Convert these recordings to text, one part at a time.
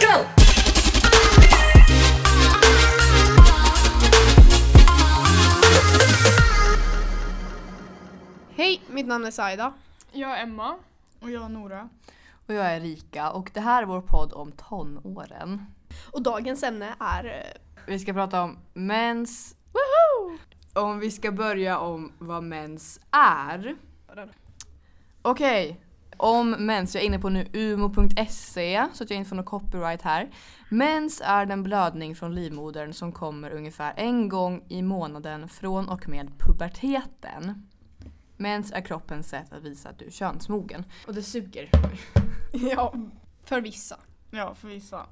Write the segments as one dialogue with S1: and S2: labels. S1: go!
S2: Hej, mitt namn är Saida.
S3: Jag är Emma.
S4: Och jag Nora.
S5: Och jag är Rika och det här är vår podd om tonåren.
S2: Och dagens ämne är... eh,
S5: Vi ska prata om mens. Om vi ska börja om vad mens är. Okej, om mens. Jag är inne på nu umo.se så att jag inte får någon copyright här. Mens är den blödning från livmodern som kommer ungefär en gång i månaden från och med puberteten. Mens är kroppens sätt att visa att du är könsmogen. Och det suger.
S2: ja, för vissa.
S4: Ja, för vissa.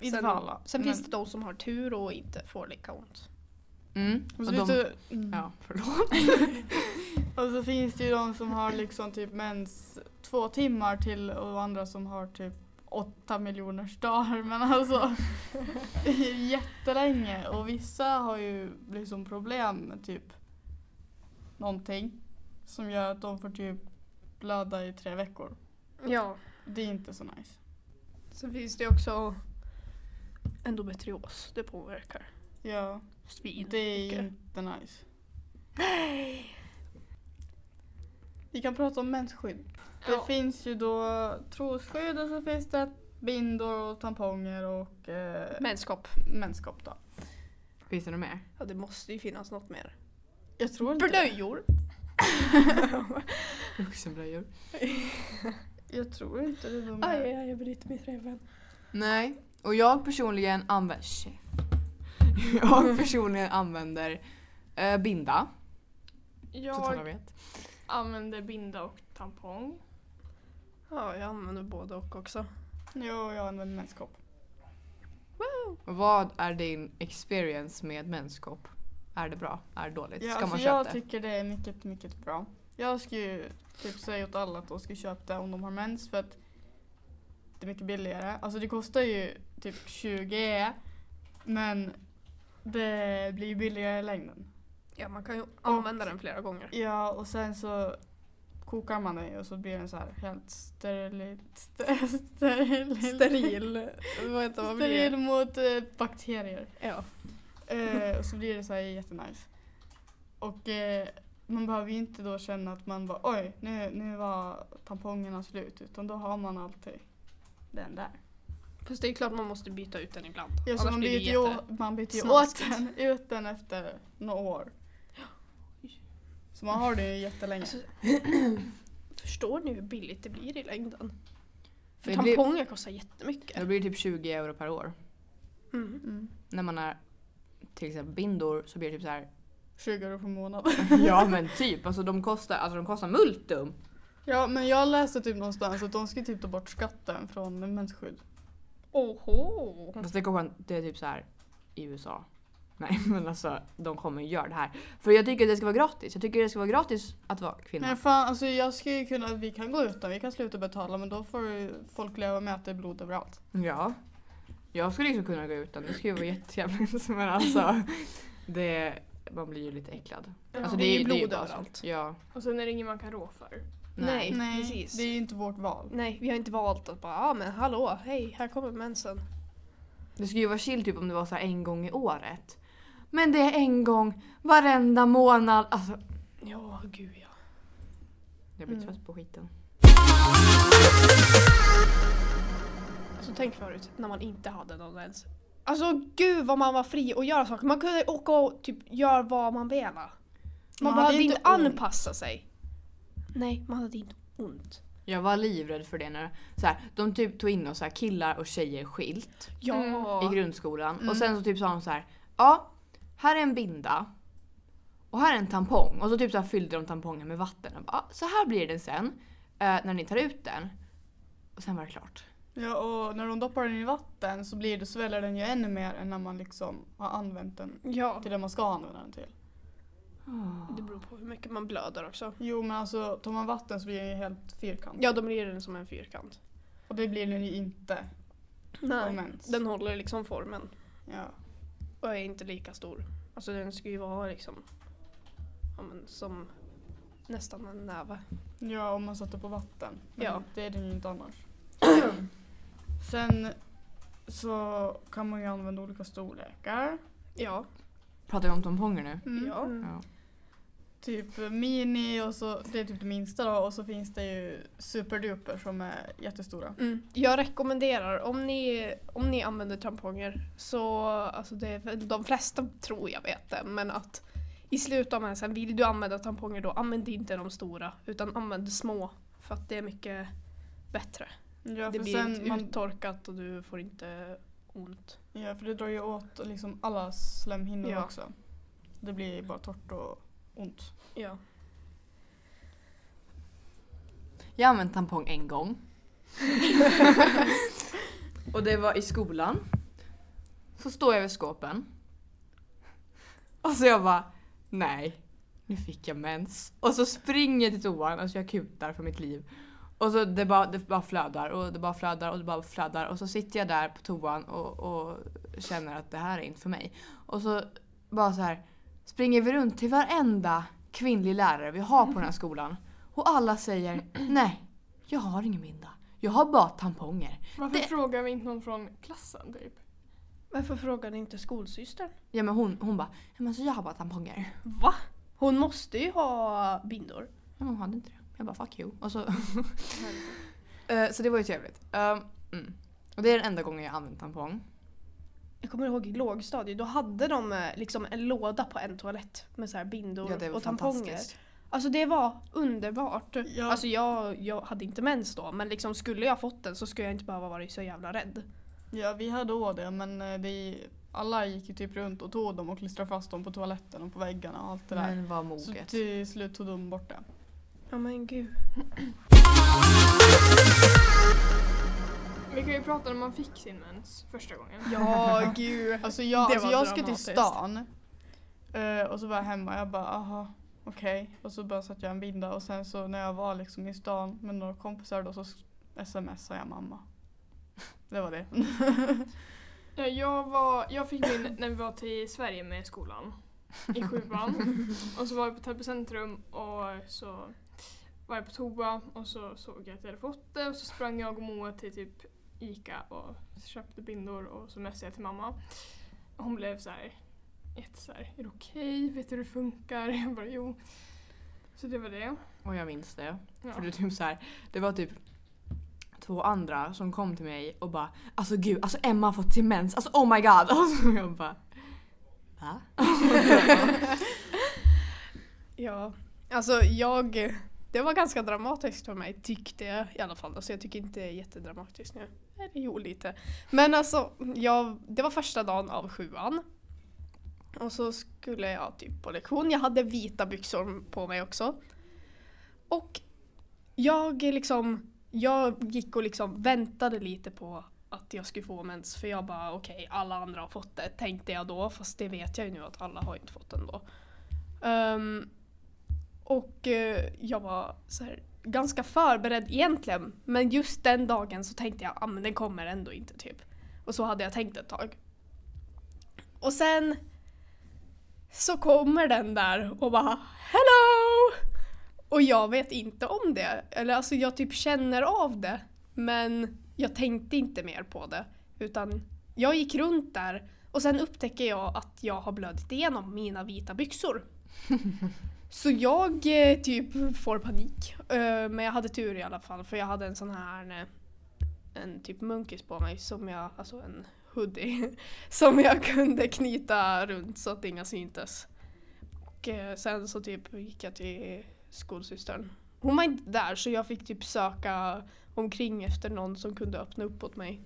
S4: Inte
S2: Sen-
S4: för alla.
S2: Sen
S4: men-
S2: finns det de som har tur och inte får lika ont.
S5: Mm.
S4: och
S5: Och
S4: så, finns
S5: de-
S4: det,
S5: Ja, förlåt.
S4: och så finns det ju de som har liksom typ mens två timmar till och andra som har typ åtta miljoner dagar. Men alltså, det är ju jättelänge. Och vissa har ju liksom problem med typ någonting som gör att de får typ blöda i tre veckor.
S2: Ja.
S4: Det är inte så nice.
S2: Sen finns det också endometrios. Det påverkar
S4: Ja,
S2: svin.
S4: det är
S2: mycket.
S4: inte nice. Vi kan prata om mensskydd. Det
S3: Ja.
S4: finns ju då trosskydd och så finns det bindor och tamponger och eh,
S2: Menskopp.
S4: menskopp då.
S5: Finns det något mer?
S2: Ja, det måste ju finnas något mer.
S4: Jag tror inte det.
S2: Blöjor.
S5: Vuxenblöjor.
S4: Jag tror inte det är de
S2: Aj,
S4: här.
S2: aj, jag bryter mitt revben.
S5: Nej, och jag personligen använder... Jag personligen använder eh, binda. Så att alla
S3: Jag
S5: vet.
S3: använder binda och tampong.
S2: Ja, jag använder både och också.
S4: Jo, jag använder menskopp.
S5: Vad är din experience med menskopp? Är det bra? Är det dåligt?
S4: Ja,
S5: Ska
S4: alltså
S5: man köpa
S4: jag
S5: det?
S4: tycker det är mycket, mycket bra. Jag ska ju typ säga åt alla att de ska köpa det om de har mens för att det är mycket billigare. Alltså det kostar ju typ 20 men det blir billigare i längden.
S2: Ja, man kan ju använda den flera gånger.
S4: Ja, och sen så kokar man den ju och så blir den så här helt steril... Steril... Steril,
S2: Steril. Vad heter vad blir
S4: steril
S2: det?
S4: mot eh, bakterier.
S2: Ja.
S4: Eh, och så blir det så här jättenice. Och eh, man behöver ju inte då känna att man bara oj, nu, nu var tampongerna slut. Utan då har man alltid den där.
S2: Fast det är klart man måste byta ut den ibland.
S4: Ja, så man, byter
S2: det
S4: ju, å- man byter ju åt
S2: snaskigt.
S4: den, ut den efter några år. Så man har det ju jättelänge.
S2: Alltså, Förstår ni hur billigt det blir i längden? För
S5: Det blir-
S2: tamponger kostar
S5: Det
S2: jättemycket.
S5: blir typ 20 euro per år.
S2: Mm.
S4: Mm.
S5: När man är till exempel bindor så blir det typ så här.
S4: 20 euro per månad.
S5: ja men typ, alltså de kostar, alltså de kostar multum.
S4: Ja, men jag läste typ någonstans att de ska typ ta bort skatten från mensskydd.
S2: Oho!
S5: Fast det, kommer, det är typ så här i USA. Nej men alltså de kommer ju göra det här. För jag tycker det ska vara gratis. Jag tycker det ska vara gratis att vara kvinna.
S4: Men fan, alltså jag ska ju kunna, vi kan gå utan, vi kan sluta betala men då får ju folk leva med att det är blod överallt.
S5: Ja. Jag skulle liksom kunna gå utan, det skulle ju vara jättetrevligt. Men alltså, det, man blir ju lite äcklad. Alltså,
S2: det är ju blod
S5: bara så.
S2: överallt.
S5: Ja.
S3: Och sen är det inget man kan rå för.
S2: Nej,
S4: Nej,
S2: precis.
S4: det är ju inte vårt val.
S2: Nej, vi har inte valt att bara, ja ah, men hallå, hej, här kommer mensen.
S5: Det skulle ju vara chill typ om det var så här en gång i året. Men det är en gång varenda månad. Alltså,
S2: Ja, gud ja.
S5: jag blir
S4: Mm.
S5: trött på skiten.
S2: Alltså tänk förut, när man inte hade någon ens. Alltså gud vad man var fri och göra saker. Man kunde åka och typ göra vad man ville. Man,
S4: Man hade
S2: behövde
S4: inte
S2: inte
S4: ont.
S2: anpassa sig. Nej, man hade inte ont.
S5: Jag var livrädd för det när så här, de typ tog in oss så här, killar och tjejer skilt
S2: Ja.
S5: i grundskolan.
S4: Mm.
S5: Och sen så typ sa de så här, ja, här är en binda. Och här är en tampong. Och så typ så här fyllde de tampongen med vatten. Och bara, "Ja, så här blir den sen eh, när ni tar ut den. Och sen var det klart.
S4: Ja, och när de doppar den i vatten så blir det, sväller den ju ännu mer än när man liksom har använt den
S2: Ja,
S4: till det man ska använda den till.
S2: det beror på hur mycket man blöder också.
S4: Jo men alltså tar man vatten så blir den ju helt fyrkantig.
S2: Ja, då blir den som en fyrkant.
S4: Och det blir den ju inte av
S2: Nej.
S4: mens.
S2: Den håller liksom formen
S4: Ja.
S2: och är inte lika stor. Alltså den ska ju vara liksom, ja men som nästan en näve.
S4: ja, om man sätter på vatten. Men
S2: Ja.
S4: Det är den ju inte annars. Sen så kan man ju använda olika storlekar.
S2: Ja.
S5: Pratar vi om tamponger nu?
S4: Mm.
S2: ja.
S5: Ja.
S4: Typ mini och så, det är typ det minsta då och så finns det ju superduper som är jättestora.
S2: Mm. Jag rekommenderar, om ni, om ni använder tamponger, så alltså det är väl de flesta tror jag vet det, men att i slutet av mensen, vill du använda tamponger då, använd inte de stora, utan använd små. För att det är mycket bättre.
S4: Ja,
S2: det
S4: för
S2: blir
S4: sen
S2: inte
S4: man,
S2: uttorkat och du får inte ont.
S4: ja, för det drar ju åt liksom alla slemhinnor
S2: Ja.
S4: också. Det blir bara torrt och ont.
S2: Ja.
S5: Jag har använt tampong en gång. och det var i skolan. Så står jag vid skåpen. Och så jag bara, nej, nu fick jag mens. Och så springer jag till toan, alltså jag kutar för mitt liv. Och så det bara, det bara flödar och det bara flödar och det bara flödar. Och så sitter jag där på toan och, och känner att det här är inte för mig. Och så bara så här springer vi runt till varenda kvinnlig lärare vi har på den här skolan. Och alla säger nej, jag har ingen binda. Jag har bara tamponger.
S3: Varför
S5: Det-
S3: frågar vi inte någon från klassen typ?
S2: Varför frågar ni inte skolsystern?
S5: Ja men hon, hon bara, "Ja, men så jag har bara tamponger.
S2: Va? Hon måste ju ha bindor.
S5: Ja, men hon hade inte det. Jag bara fuck you. Och så, Eh, så det var ju trevligt. Ehm, mm. Och det är den enda gången jag har använt tampong.
S2: Jag kommer ihåg i lågstadiet, då hade de eh, liksom en låda på en toalett med så här bindor
S5: Ja, det var
S2: och tamponger.
S5: fantastiskt.
S2: Alltså det var underbart.
S4: Ja.
S2: Alltså jag, jag hade inte mens då men liksom skulle jag fått den så skulle jag inte behöva vara så jävla rädd.
S4: Ja, vi hade också det, men eh, vi, alla gick ju typ runt och tog dem och klistrade fast dem på toaletten och på väggarna och allt det
S3: Mm.
S4: där.
S5: Men var
S4: Så
S5: moget.
S4: till slut tog de bort det.
S2: Ja men gud.
S3: Vi kan ju prata om när man fick sin mens första gången.
S2: Ja gud.
S4: Alltså jag,
S2: Det
S4: alltså
S2: var
S4: jag ska till
S2: dramatiskt.
S4: stan eh, och så var jag hemma jag bara aha, okej. Och så bara satt jag en binda och sen så när jag var liksom i stan med några kompisar då så s- smsade jag mamma. Det var det.
S3: Ja, Jag, var, jag fick min när vi var till Sverige med skolan i sjuan. Och så var jag på Täby centrum och så var jag på toa och så såg jag att jag hade fått det och så sprang jag och Moa till typ Ica och köpte bindor och så messade jag till mamma. Och hon blev så här jätte så här, är det okej? Vet du hur det funkar? Jag bara jo. Så det var det.
S5: Och jag minns det.
S3: Ja.
S5: För det, är typ så här, det var typ två andra som kom till mig och bara Alltså gud, alltså Emma har fått sin mens, alltså oh my god! Och så jag bara Va?
S2: Ja. Alltså jag, det var ganska dramatiskt för mig tyckte jag i alla fall. Alltså jag tycker inte det är jättedramatiskt nu. Eller jo lite. Men alltså jag, det var första dagen av sjuan. Och så skulle jag typ på lektion. Jag hade vita byxor på mig också. Och jag liksom, jag gick och liksom väntade lite på att jag skulle få mens för jag bara okej alla andra har fått det tänkte jag då fast det vet jag ju nu att alla har inte fått ändå. Ehm, och eh, jag var så här, ganska förberedd egentligen men just den dagen så tänkte jag att ah, men den kommer ändå inte typ. Och så hade jag tänkt ett tag. Och sen så kommer den där och bara Hello! Och jag vet inte om det. Eller alltså jag typ känner av det. Men jag tänkte inte mer på det. Utan jag gick runt där och sen upptäcker jag att jag har blödit igenom mina vita byxor. Så jag eh, typ får panik. Eh, Men jag hade tur i alla fall för jag hade en sån här eh, en typ munkis på mig som jag, alltså en hoodie som jag kunde knyta runt så att inga syntes. Och eh, sen så typ gick jag till skolsystern. Hon var inte där så jag fick typ söka omkring efter någon som kunde öppna upp åt mig.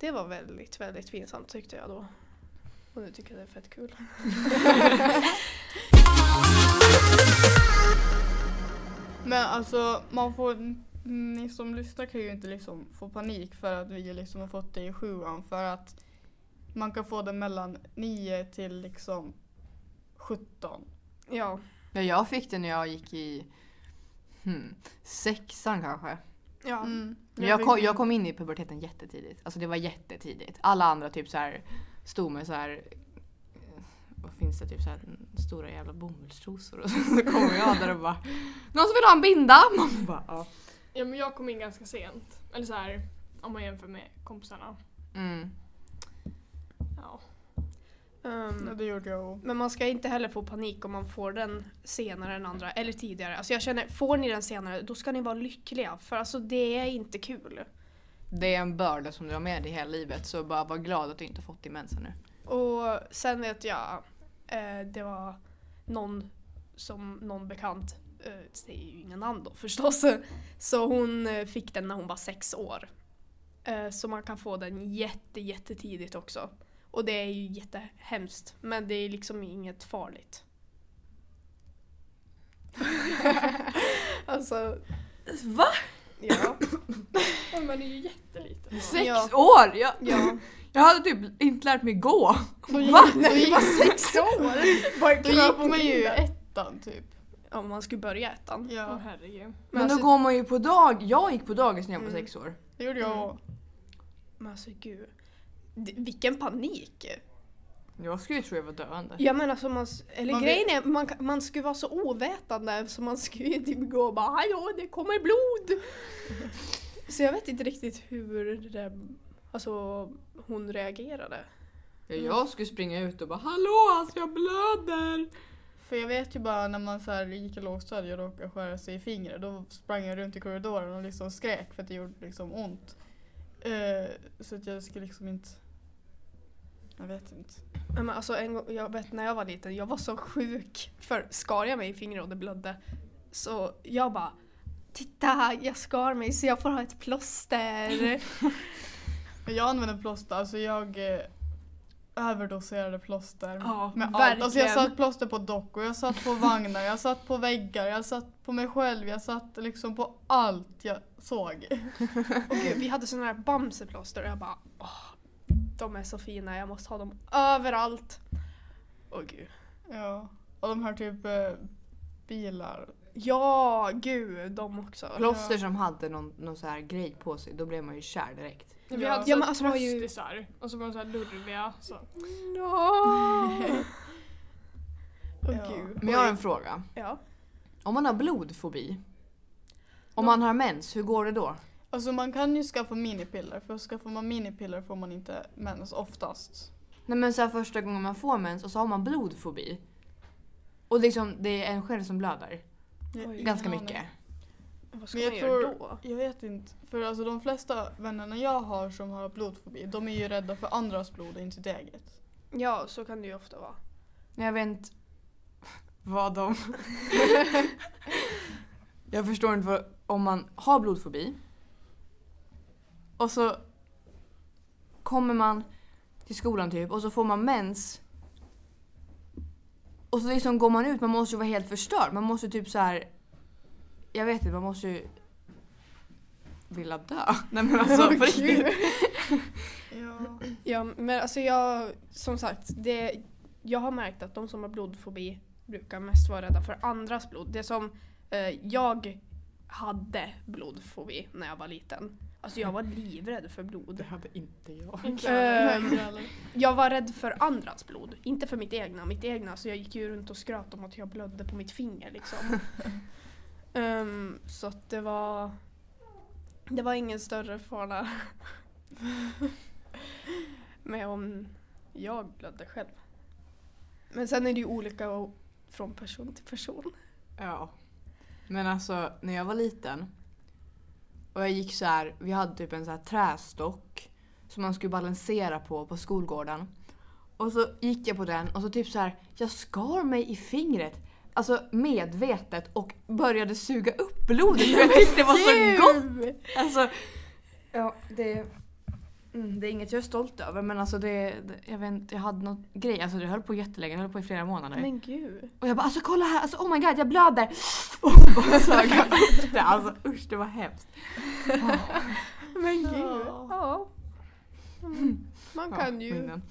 S2: Det var väldigt, väldigt pinsamt tyckte jag då. Och nu tycker jag det är fett kul.
S4: Men alltså man får, ni som lyssnar kan ju inte liksom få panik för att vi liksom har fått det i sjuan för att man kan få det mellan 9 till liksom 17.
S2: Ja,
S5: Ja, jag fick det när jag gick i hmm, sexan kanske.
S2: ja.
S4: Mm.
S5: Men jag, kom,
S4: fick-
S5: jag kom in i puberteten jättetidigt. Alltså det var jättetidigt. Alla andra typ så här stod med så här eh, vad finns det typ så här stora jävla bomullstrosor och så, så kommer jag där och bara Någon som vill ha en binda? Man bara ja.
S3: Ja, men jag kom in ganska sent. Eller så här om man jämför med kompisarna.
S5: Mm.
S3: Ja.
S2: Ehm,
S4: Ja, det gjorde jag också.
S2: Men man ska inte heller få panik om man får den senare än andra eller tidigare. Alltså jag känner, får ni den senare då ska ni vara lyckliga för alltså det är inte kul.
S5: Det är en börda som du har med dig hela livet så bara var glad att du inte fått din mens ännu.
S2: Och sen vet jag, eh, det var någon som någon bekant, eh, säger ju inga namn då förstås, så hon eh, fick den när hon var sex år. Eh, så man kan få den jätte, jättetidigt också. Och det är ju jättehemskt men det är liksom inget farligt. alltså,
S5: Va?
S2: ja.
S3: Men man är ju jätteliten.
S5: Sex
S2: Ja.
S5: år? Jag,
S2: ja.
S5: jag hade typ inte lärt mig gå.
S4: Då gick,
S5: Va?
S4: Då gick,
S2: sex år!
S4: då gick man ju ettan typ.
S2: Ja, man skulle börja ettan.
S3: Åh
S4: Ja,
S3: herregud.
S5: Men
S2: alltså-
S5: då går man ju på dag. Jag gick på dagis när jag var
S2: Mm.
S5: sex år.
S4: det gjorde jag
S2: Mm.
S4: också.
S2: Men alltså gud. D- vilken panik!
S5: Jag skulle ju tro jag var döende.
S2: Ja men alltså man, s- eller
S4: Man
S2: grejen är, man, kan- man skulle vara så ovetande så man skulle ju typ gå och bara hallå det kommer blod! så jag vet inte riktigt hur det där, alltså hon reagerade.
S5: Ja, jag skulle springa ut och bara hallå alltså jag blöder.
S4: För jag vet ju bara när man så här gick i lågstadiet och råkade skära sig i fingret då sprang jag runt i korridoren och liksom skrek för att det gjorde liksom ont. Eh, så att jag skulle liksom inte... Jag vet inte.
S2: Ja, Men alltså en gång, jag vet när jag var liten, jag var så sjuk för skar jag mig i fingret och det blödde. Så jag bara Titta, jag skar mig så jag får ha ett plåster.
S4: Men jag använde plåster, alltså jag eh, överdoserade plåster.
S2: Ja,
S4: Med allt.
S2: verkligen.
S4: Alltså jag satt plåster på dockor, jag satt på vagnar, jag satt på väggar, jag satt på mig själv, jag satt liksom på allt jag såg.
S2: Och gud, vi hade sådana här bamseplåster och jag bara åh, de är så fina, jag måste ha dem överallt. Åh gud.
S4: Ja. Och de här typ eh, bilar.
S2: Ja, gud, de också.
S5: Plåster som hade någon, någon så här grej på sig, då blev man ju kär direkt.
S3: Vi
S4: Ja.
S3: hade så
S2: Ja,
S3: ja,
S2: men alltså, man har ju-
S3: tröstisar och så var de så här lurviga. Så.
S2: Ja. Åh
S4: Ja.
S2: gud.
S5: Men jag har en fråga.
S2: Ja.
S5: Om man har blodfobi, om man har mens, hur går det då?
S4: Alltså man kan ju skaffa minipiller, för skaffar man minipiller får man inte mens oftast.
S5: Nej men så här första gången man får mens och så har man blodfobi. Och liksom det är en själv som blöder.
S4: Jag-
S2: Oj.
S5: Ganska
S4: ingen
S5: mycket.
S2: Vad ska
S4: Men jag
S2: man göra
S4: tror-
S2: då?
S4: Jag vet inte, för alltså de flesta vännerna jag har som har blodfobi, de är ju rädda för andras blod och inte sitt eget.
S2: Ja, så kan det ju ofta vara.
S5: Men Jag vet inte vad de... jag förstår inte vad, om man har blodfobi och så kommer man till skolan typ och så får man mens och så liksom går man ut, man måste ju vara helt förstörd. Man måste ju typ så här. Jag vet inte, man måste ju vilja dö. Nej men alltså på riktigt.
S4: Ja.
S2: Ja, men alltså jag, som sagt, det, jag har märkt att de som har blodfobi brukar mest vara rädda för andras blod. Det som eh, jag hade blodfobi när jag var liten. Alltså jag var livrädd för blod.
S5: hade inte jag.
S3: Inte
S2: Eh,
S4: Högre, eller?
S2: jag var rädd för andras blod, inte för mitt egna. Mitt egna, så jag gick ju runt och skröt om att jag blödde på mitt finger liksom. Ehm, så att det var... Det var ingen större fara med om jag blödde själv. Men sen är det ju olika o- från person till person.
S5: Ja. Men alltså när jag var liten och jag gick så här, vi hade typ en så här trästock som man skulle balansera på på skolgården. Och så gick jag på den och så typ så här, jag skar mig i fingret. Alltså medvetet och började suga upp blodet för jag tyckte det var så gott. Alltså, ja det, mm, det är inget jag är stolt över men alltså det, det jag vet inte, jag hade något grej, alltså det höll på jättelänge, det höll på i flera månader.
S2: Men gud.
S5: Och jag bara alltså kolla här, alltså oh my god jag blöder! Och bara sög jag upp det, alltså usch det var hemskt.
S2: Men gud.
S4: Ja.
S2: Ja. Mm. Man kan
S5: Ja,
S2: ju
S5: minnen.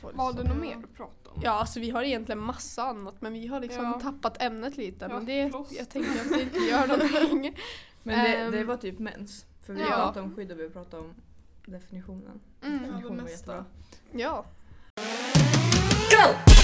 S2: få det
S3: Har
S2: så.
S4: Mm,
S3: du något mer att prata om?
S2: Ja, alltså vi har egentligen massa annat men vi har liksom
S3: Ja.
S2: tappat ämnet lite.
S3: Ja,
S2: men det,
S3: plåster.
S2: jag tänker att det inte gör någonting.
S5: Men
S2: Ehm.
S5: det, det var typ mens. För vi
S2: Ja.
S5: pratade om skydd och vi pratade om definitionen.
S2: Mm.
S4: Ja, det
S5: Definitionen var
S4: mesta.
S5: jättebra.
S2: Ja.
S5: Go!